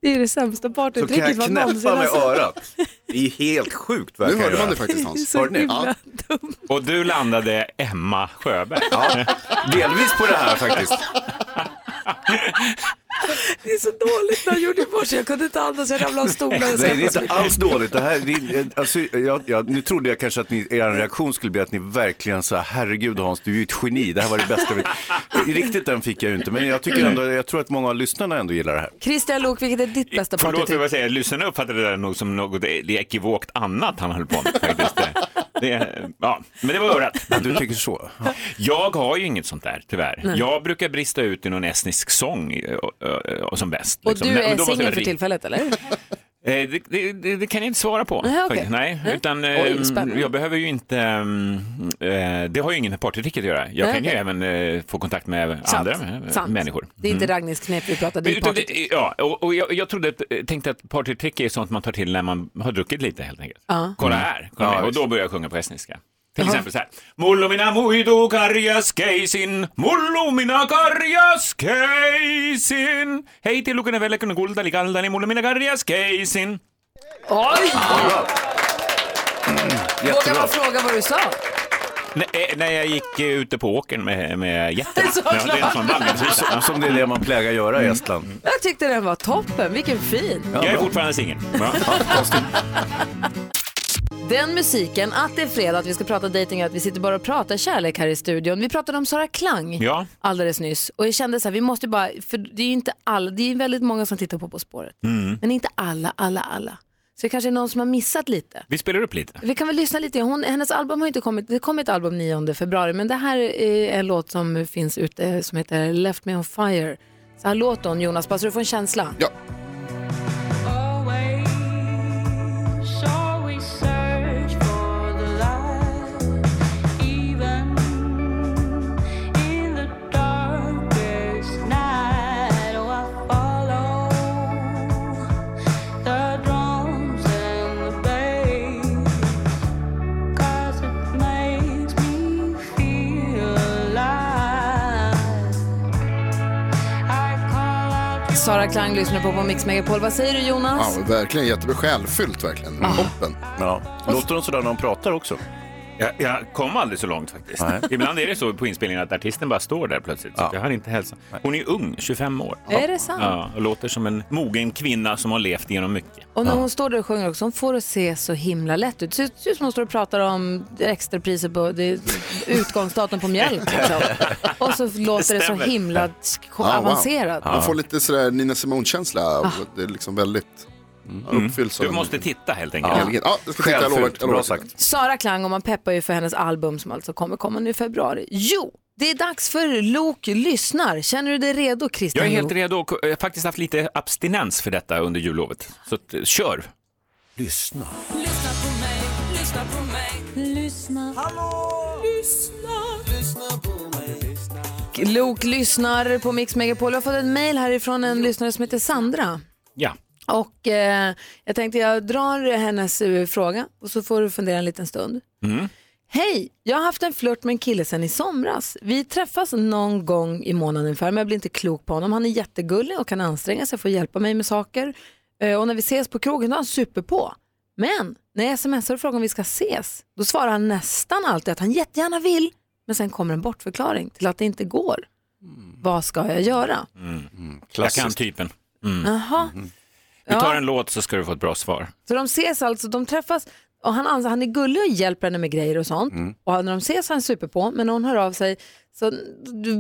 Det är det sämsta
Så kan
partytricket
jag
man någonsin
knäppa
har
med
sett.
örat. Det är helt sjukt vad jag
Nu
kan
hörde man
göra.
det faktiskt, Hans. Det är så
Hörde ni?
himla
Ja.
Och du landade Emma Sjöberg.
Ja, delvis på det här faktiskt.
Det är så dåligt när jag gjorde bort sig. Jag kunde inte andas, jag ramlade av stolen.
Nej, det är inte alls dåligt. Det här, det, är- alltså, jag, jag, nu trodde jag kanske att ni, er reaktion skulle bli att ni verkligen sa herregud Hans, du är ju ett geni, det här var det bästa. vi-" Riktigt den fick jag ju inte, men jag, tycker ändå, jag tror att många av lyssnarna ändå gillar det här.
Christian Lok, vilket är ditt bästa
Förlåt, jag
partytrick?
vill säga, lyssnarna uppfattade det där nog som något det är ekivokt annat han höll på med faktiskt. Det, eh, ja, men det var örat.
Du tycker så?
Jag har ju inget sånt där, tyvärr.
Nej.
Jag brukar brista ut i någon estnisk sång eh, och, och, och som bäst.
Och
liksom.
du
Nej, men
är
då måste
singel
jag
för
ri-
tillfället, eller?
Eh, Det, det, det, det kan jag inte svara på.
Nej, okej.
faktiskt. Nej,
Nej.
utan eh,
Oj, spännande.
jag behöver ju inte, mm, eh, det har ju ingen partytricket att göra. Jag
Nej,
kan ju
okej.
även eh, få kontakt med
Sant.
andra eh,
Sant.
människor.
Det är inte Ragnhilds knep vi pratar, det är
Utan
partytrick.
det, ja, och, och jag, jag trodde att, eh, tänkte att partytrick är sånt man tar till när man har druckit lite helt enkelt.
Ja.
Kolla
Mm.
här, kolla
Ja,
här. och
visst.
då börjar jag sjunga på estniska. Till exempel så här. Mullumina muidu karjas keisin, mullumina karjas keisin. Hej till Lukene Velekun Guldali Galdali, mullumina karjas keisin.
Oj! Vågar
Jättebra.
man fråga vad du sa?
Nej, eh, när jag gick eh, ute på åkern med, med jätten.
Såklart.
Ja, det är en sån vandringsvisa.
Som, som det är det man plägar göra i Estland.
Jag tyckte den var toppen, vilken fin.
Jag är fortfarande singel.
Den musiken, att det är fredag, att vi ska prata dating och att vi sitter bara och pratar kärlek här i studion. Vi pratade om Sara Klang
Ja.
alldeles nyss och jag kände så här, vi måste ju bara, för det är ju inte alla, det är ju väldigt många som tittar på På spåret. Mm. Men inte alla, alla, alla. Så det kanske är någon som har missat lite.
Vi spelar upp lite.
Vi kan väl lyssna lite. Hon, hennes album har inte kommit. Det kom ett album 9 februari, men det här är en låt som finns ute som heter Left Me On Fire. Så här låter hon, Jonas, bara så du får en känsla.
Ja.
Shall we search for the light, even in the darkest night? Oh, I follow the drums and the bass, 'cause it makes me feel alive. I call out.
Sara Klang lyssnar på på Mix Megapol. Vad säger du Jonas?
Ja, verkligen jättebra. Självfyllt verkligen. Toppen.
Ja. Låter de sådär när de pratar också?
Jag, jag kom aldrig så långt faktiskt.
Nej.
Ibland är det så på inspelningen att artisten bara står där plötsligt. Så att jag hann inte hälsa. Hon är ung, 25 år.
Är det sant?
Ja, och låter som en mogen kvinna som har levt genom mycket.
Och när hon står där och sjunger också, hon får det se så himla lätt ut. Det ser ut som hon står och pratar om extrapriser på det är utgångsdatum på mjölk. Liksom. Och så låter det så
stämmer.
himla
Ja, wow.
avancerat.
Man får lite sådär Nina Simone-känsla. och Det är liksom väldigt mm. uppfylls.
Du måste titta helt enkelt.
Ja, ja jag ska titta. Jag lovar.
Självfyllt,
jag lovar.
bra sagt.
Sara Klang, och man peppar ju för hennes album som alltså kommer komma nu i februari. Jo, det är dags för Lok lyssnar. Känner du dig redo Christian
Jag är helt
Lok?
redo och eh, jag har faktiskt haft lite abstinens för detta under jullovet. Så att, eh, kör! Lyssna.
Lyssna på mig. Lyssna. Hallå! Lyssna. Lyssna på mig.
Lok lyssnar på Mix Megapol. Jag har fått ett mejl härifrån en lyssnare som heter Sandra.
Ja.
Och eh, jag tänkte jag drar hennes eh, fråga och så får du fundera en liten stund.
Mm.
Hej, jag har haft en flört med en kille sedan i somras. Vi träffas någon gång i månaden ungefär men jag blir inte klok på honom. Han är jättegullig och kan anstränga sig för att hjälpa mig med saker. Eh, Och när vi ses på krogen då är han super på. Men när jag smsar och frågar om vi ska ses, då svarar han nästan alltid att han jättegärna vill. Men sen kommer en bortförklaring till att det inte går. Vad ska jag göra?
Jag kan typen. Mm.
Jaha.
Vi tar
Ja.
en låt så ska du få ett bra svar.
Så de ses alltså, de träffas och han, ans- han är gullig och hjälper henne med grejer och sånt.
Mm.
Och när de ses är han super på, men när hon hör av sig så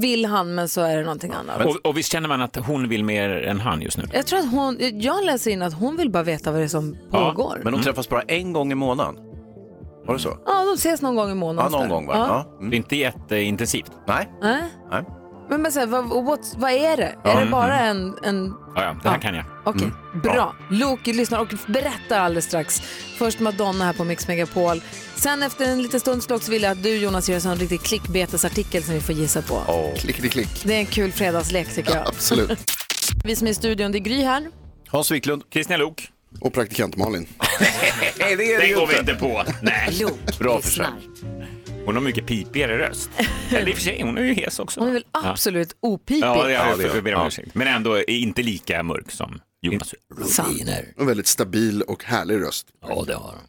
vill han men så är det någonting annat.
Och, och visst känner man att hon vill mer än han just nu?
Jag tror att hon, jag läser in att hon vill bara veta vad det är som pågår.
Men de träffas bara en gång i månaden. Var det så?
Ja, de ses någon gång i månaden.
Ja, någon gång va?
Ja.
Ja.
Det är inte jätteintensivt.
Nej.
Nej.
Nej.
Men, men så här, vad, och what, vad är det?
Ja.
Är det bara
Mm.
en, en
Ja, ja, det här kan jag. Mm.
Okej, bra. Loki lyssnar och berättar alldeles strax. Först Madonna här på Mix Megapol. Sen efter en liten stund skulle jag också vilja att du Jonas gör en sån riktig klickbetesartikel som vi får gissa på.
Klick, klick, klick.
Det är en kul fredagslek tycker jag.
Absolut.
vi som är i studion, det är Gry här.
Hans Wiklund.
Kristian Lok.
Och praktikant Malin.
Nej, det,
ju
går vi
inte.
inte på. Nej. Bra försök. Hon har mycket pipigare röst. Eller i och för sig, hon är ju hes också.
Hon är väl
Ja.
absolut opipig.
Ja, det är, jag ber om ursäkt. Men ändå är inte lika mörk som Jonas.
Rutiner. En väldigt stabil och härlig röst. Ja, det har hon.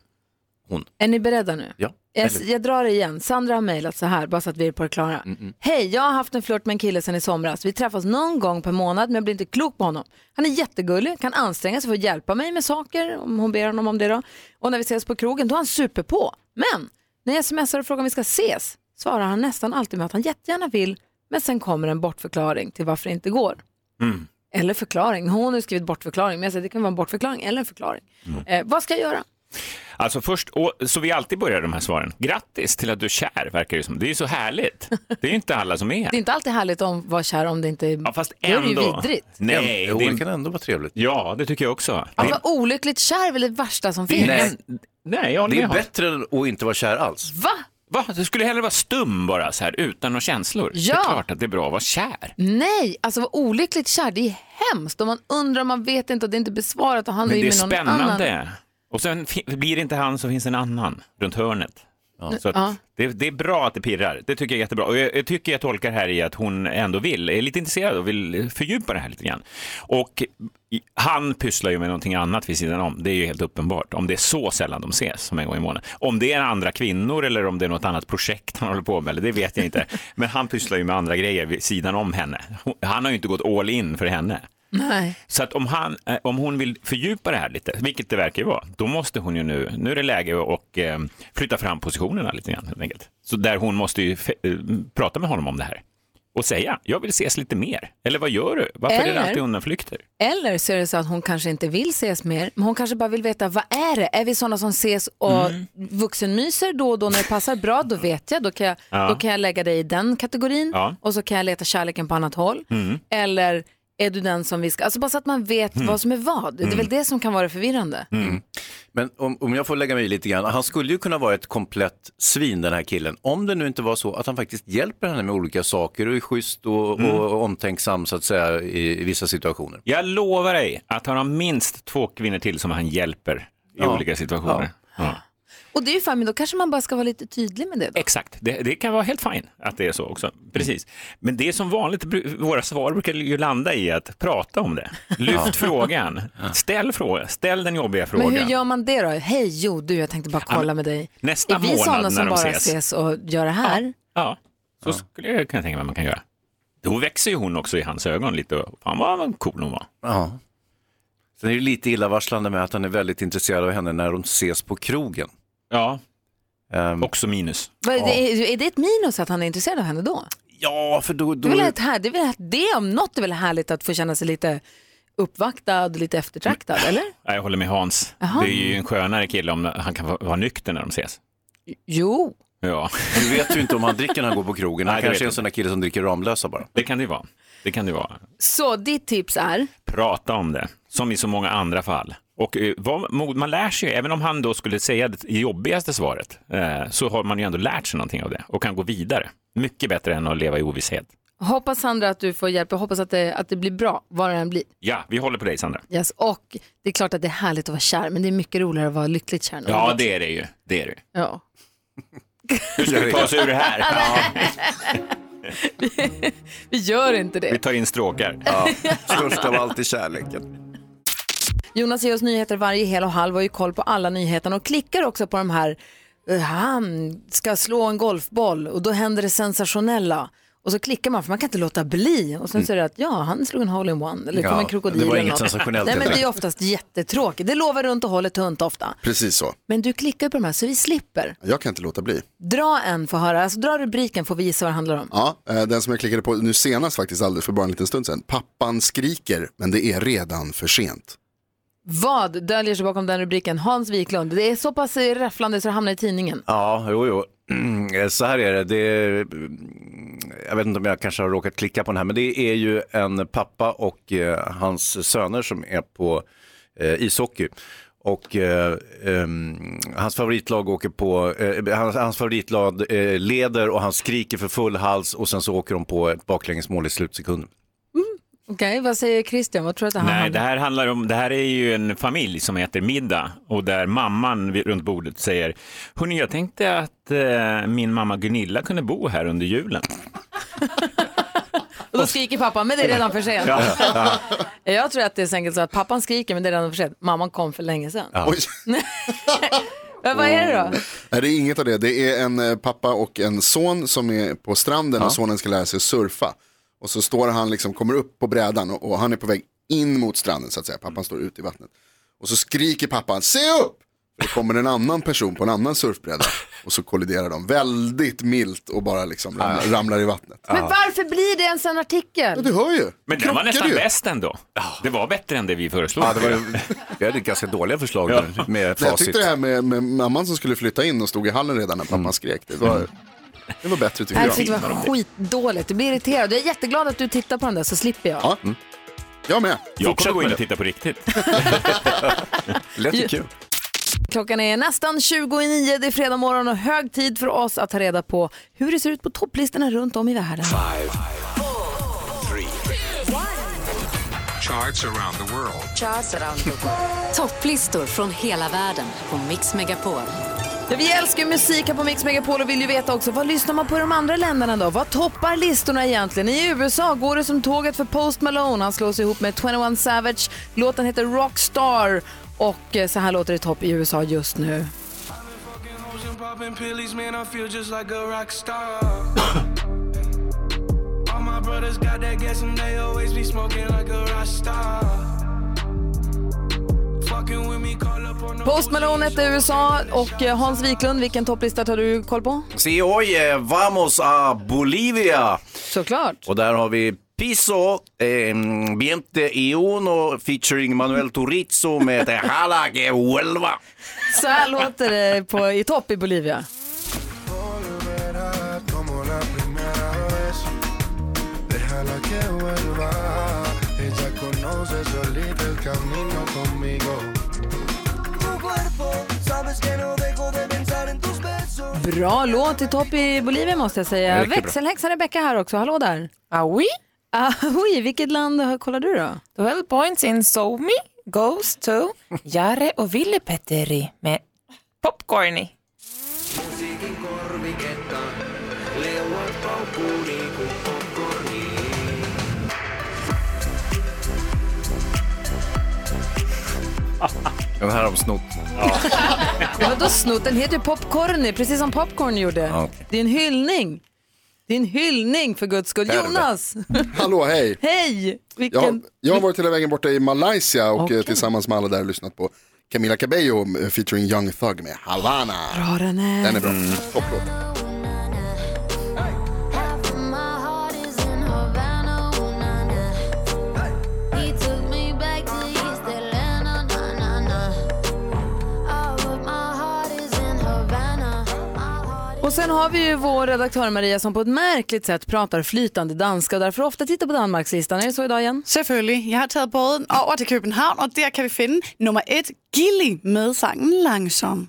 Är ni beredda nu?
Ja.
Jag, jag drar det igen. Sandra har mejlat så här, bara så att vi är på det klara. Hej, jag har haft en flört med en kille sedan i somras. Vi träffas någon gång per månad men jag blir inte klok på honom. Han är jättegullig, kan anstränga sig för att hjälpa mig med saker om hon ber honom om det då. Och när vi ses på krogen då är han superpå. Men när jag smsar och frågar om vi ska ses svarar han nästan alltid med att han jättegärna vill men sen kommer en bortförklaring till varför det inte går.
Mm.
Eller förklaring. Hon har ju skrivit bortförklaring men jag säger det kan vara en bortförklaring eller en förklaring.
Mm.
Eh, vad ska jag göra?
Alltså först, och, så vi alltid börjar de här svaren. Grattis till att du är kär, verkar det som. Det är ju så härligt. Det är ju inte alla som är.
Det är inte alltid härligt att vara kär om det inte är... Ja,
fast
Det är ju
Ändå.
vidrigt.
Nej,
Jo, det kan ändå vara trevligt.
Ja, det tycker jag också.
Att vara olyckligt kär är väl Alltså, det värsta som finns?
Nej, jag håller
det är
med Hans.
bättre än att inte vara kär alls.
Va?
Va? Du skulle hellre vara stum bara så här, utan några känslor.
Ja.
Det är klart att det är bra att vara kär.
Nej, alltså vara olyckligt kär, det är hemskt. Och man undrar, man vet inte och det är inte besvarat och han
Men
är ju
det är
med någon annan.
spännande. Och sen fi- blir det inte han så finns en annan runt hörnet. Så att
Ja.
det, det är bra att det pirrar. Det tycker jag är jättebra. Och jag, jag tycker jag tolkar här i att hon ändå vill, är lite intresserad och vill fördjupa det här lite grann. Och i- han pysslar ju med någonting annat vid sidan om. Det är ju helt uppenbart. Om det är så sällan de ses som en gång i månaden. Om det är andra kvinnor eller om det är något annat projekt han håller på med, det vet jag inte. Men han pysslar ju med andra grejer vid sidan om henne. Hon- Han har ju inte gått all in för henne.
Nej.
Så att om, han, eh, om hon vill fördjupa det här lite, vilket det verkar ju vara, då måste hon ju nu, nu är det läge att och, eh, flytta fram positionerna lite grann helt enkelt. Så där hon måste ju fe- eh, prata med honom om det här och säga, jag vill ses lite mer. Eller vad gör du? Varför är
Eller-
det alltid undanflykter?
Eller så är det så att hon kanske inte vill ses mer, men hon kanske bara vill veta vad är det? Är vi sådana som ses och vuxenmyser då och då när det passar bra, då vet jag. Då kan jag,
Ja.
då kan jag lägga dig i den kategorin
Ja.
och så kan jag leta kärleken på annat håll.
Mm.
Eller är du den som vi ska... Alltså bara så att man vet
Mm.
vad som är vad. Det är väl
Mm.
det som kan vara förvirrande.
Mm. Men om, om jag får lägga mig i lite grann, han skulle ju kunna vara ett komplett svin den här killen, om det nu inte var så att han faktiskt hjälper henne med olika saker och är schysst och, och omtänksam så att säga i, i vissa situationer.
Jag lovar dig att han har minst två kvinnor till som han hjälper i
Ja.
olika situationer. Ja.
Och det är ju fine, men då kanske man bara ska vara lite tydlig med det. Då.
Exakt, det, det kan vara helt fint att det är så också. Precis. Men det är som vanligt, bru- våra svar brukar ju landa i att prata om det.
Ja.
Lyft frågan, ställ, fråga, ställ den jobbiga
Men
frågan.
hur gör man det då? Hej, jo du, jag tänkte bara
Ja,
kolla
men
med dig.
nästa
är vi
månad
sådana
när
som
de
bara ses.
ses?
och gör det här?
Ja, så skulle jag kunna tänka mig att man kan göra. Då växer ju hon också i hans ögon lite. Fan vad cool hon var.
Ja. Sen är det lite illavarslande med att han är väldigt intresserad av henne när de ses på krogen.
Ja,
Ehm.
också
minus.
Vad Är, det, är det ett minus att han är intresserad av henne då?
Ja, för då...
Det
då
är, väl
Mm.
ett här, det, är väl det om något är väl härligt att få känna sig lite uppvaktad och lite eftertraktad,
Mm.
eller?
Nej, Jag håller med Hans.
Jaha.
Det är ju en skönare kille om han kan vara- vara nykter när de ses.
Jo.
Ja.
Du vet ju inte om han dricker när han går på krogen. Han
Nej, det vet
kanske är
jag
en sån där kille som dricker Ramlösa bara.
Det kan det ju vara. Det kan det ju vara.
Så ditt tips är?
Prata om det, som i så många andra fall. Och eh, vad, mod- man lär sig ju, även om han då skulle säga det jobbigaste svaret, eh, så har man ju ändå lärt sig någonting av det och kan gå vidare. Mycket bättre än att leva i ovisshet.
Hoppas Sandra att du får hjälp. Jag hoppas att det, att det blir bra, vad det än blir.
Ja, vi håller på dig Sandra.
Yes. Och det är klart att det är härligt att vara kär, men det är mycket roligare att vara lyckligt kär. när man
Ja,
är-
det är det ju. Det är det. ju.
ja.
Hur ska vi ta oss ur det här?
Vi gör inte det.
Vi tar in stråkar.
Ja. Störst av
allt är kärleken.
Jonas ger oss nyheter varje hel och halv och har ju koll på alla nyheterna och klickar också på de här, eh, han ska slå en golfboll och då händer det sensationella. Och så klickar man för man kan inte låta bli. Och sen så är det att ja, han slog en hole-in-one eller det kom
Mm. Ja,
en krokodil.
det var
eller
inget
något.
sensationellt
Nej,
helt
men det är ju
enkelt.
oftast jättetråkigt. Det lovar runt och håller tunt ofta.
Precis så.
Men du klickar på de här så vi slipper.
Jag kan inte låta bli.
Dra en för att höra, alltså dra rubriken får vi gissa vad det handlar om.
Ja, eh, den som jag klickade på nu senast faktiskt alldeles för bara en liten stund sedan. Pappan skriker, men det är redan för sent.
Vad döljer sig bakom den rubriken? Hans Wiklund, det är så pass eh, räfflande så det hamnar i tidningen.
Ja, jo, jo. Mm, Så här är det. det är, jag vet inte om jag kanske har råkat klicka på den här, men det är ju en pappa och eh, hans söner som är på eh, ishockey. Och eh, ehm, hans favoritlag åker på, eh, hans, hans favoritlag eh, leder och han skriker för full hals och sen så åker de på ett baklängesmål i slutsekunden.
Okej, vad säger Christian? Vad tror du att det här
Nej,
handlar
det här handlar om, det här är ju en familj som äter middag och där mamman vid- runt bordet säger, hörni jag tänkte att eh, min mamma Gunilla kunde bo här under julen.
Och då skriker pappan, men det är redan för sent.
Ja, ja.
Jag tror att det är så enkelt så att pappan skriker, men det är redan för sent. Mamman kom för länge sedan.
Oj.
Men vad är det då?
Nej, det är inget av det. Det är en eh, pappa och en son som är på stranden och sonen ska lära sig surfa. Och så står han, liksom, kommer upp på brädan och, och han är på väg in mot stranden så att säga. Pappan står ute i vattnet. Och så skriker pappan, se upp! För det kommer en annan person på en annan surfbräda. Och så kolliderar de väldigt milt och bara liksom ramlar, ramlar i vattnet.
Men varför blir det ens en artikel?
Du hör ju.
Men den var
Krockade
nästan
ju.
bäst ändå. Det var bättre än det vi föreslog.
Ja, det var, vi hade ganska dåliga förslag där, med
Nej, jag
facit.
tyckte det här med, med mamman som skulle flytta in och stod i hallen redan när pappan skrek. Det var, det var bättre tycker
Jag
jag.
tyckte det var skitdåligt. Du blir irriterad. Jag är jätteglad att du tittar på den där så slipper jag.
Ja. Jag med.
Jag kommer
Fortsätt
gå
med
in
det.
och titta på riktigt.
Lät ju kul.
Klockan är nästan 20 i nio. Det är fredag morgon och hög tid för oss att ta reda på hur det ser ut på topplistorna runt om i världen.
Charts around the world.
Topplistor från hela världen på Mix Megapol.
Ja, Vi älskar ju musik här på Mix Megapol och vill ju veta också vad lyssnar man på i de andra länderna då? Vad toppar listorna egentligen? I USA går det som tåget för Post Malone. Han slås ihop med 21 Savage. Låten heter Rockstar och eh, så här låter det topp i USA just nu.
Ocean popping pillies, man, I feel just like a rock star. All my brothers got that gas and they always be smoking like a rock star. Fucking with me, call up on the
Post Malone heter USA och eh, Hans Wiklund, vilken topplista tar du koll på?
Si oye, eh, vamos a Bolivia.
Såklart.
Och där har vi Piso, eh, Viente y Uno featuring Manuel Turizo med Jala que vuelva.
Så här låter det på, i topp i Bolivia.
como la primera vez. Déjala que vuelva. Ella conoce solita el camino conmigo. Tu cuerpo, sabes que no dejo de pensar en tus besos.
Bra låt i topp i Bolivia måste jag
Ja,
säga.
det gick ju bra.
Växelhäxan Rebecca här också, hallå där. Aui. Aui, vilket land har- kollar du då?
12 points in Somi goes to Jare och Ville Petteri med Popcorny. Den här har de snott.
Men vadå snott? Den heter ju Popcorny, precis som Popcorn gjorde.
Ja, okej.
Det är en hyllning. Det är en hyllning för guds skull.
Perver.
Jonas!
Hallå, hej!
Hej! Vilken...
Jag, jag har varit hela vägen borta i Malaysia och eh, tillsammans med alla där lyssnat på Camila Cabello eh, featuring Young Thug med Havana.
Bra den är.
Den är bra. Topplåt.
Och sen har vi ju vår redaktör Maria som på ett märkligt sätt pratar flytande danska och därför ofta tittar på Danmarkslistan. Är det så idag igen?
Selvfølgelig. Jeg har taget båden over til København, og der kan vi finde nummer et, Gilly med sangen Langsom.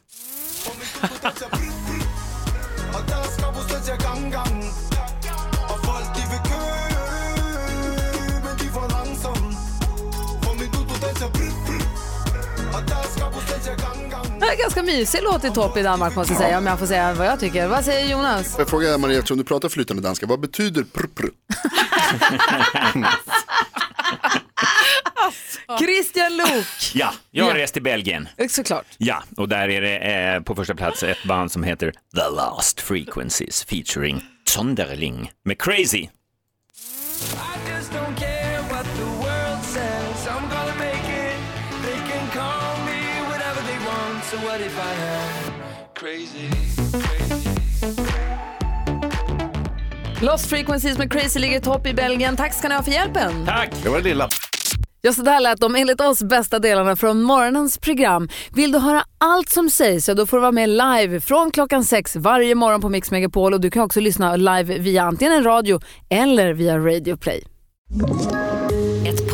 Det är en ganska mysig låt i topp i Danmark måste jag säga om jag får säga vad jag tycker. Vad säger Jonas?
Får jag fråga Maria, eftersom du pratar flytande danska, vad betyder prr, prr?
Christian Luuk!
Ja, jag har
Ja.
rest till Belgien.
Såklart.
Ja, och där är det eh, på första plats ett band som heter The Last Frequencies featuring Sonderling med Crazy.
Lost Frequencies med Crazy ligger i topp i Belgien. Tack ska ni ha för hjälpen.
Tack!
Det var det lilla.
Ja, så där lät de enligt oss bästa delarna från morgonens program. Vill du höra allt som sägs, ja, då får du vara med live från klockan sex varje morgon på Mix Megapol och du kan också lyssna live via antingen en radio eller via Radio Play.
Ett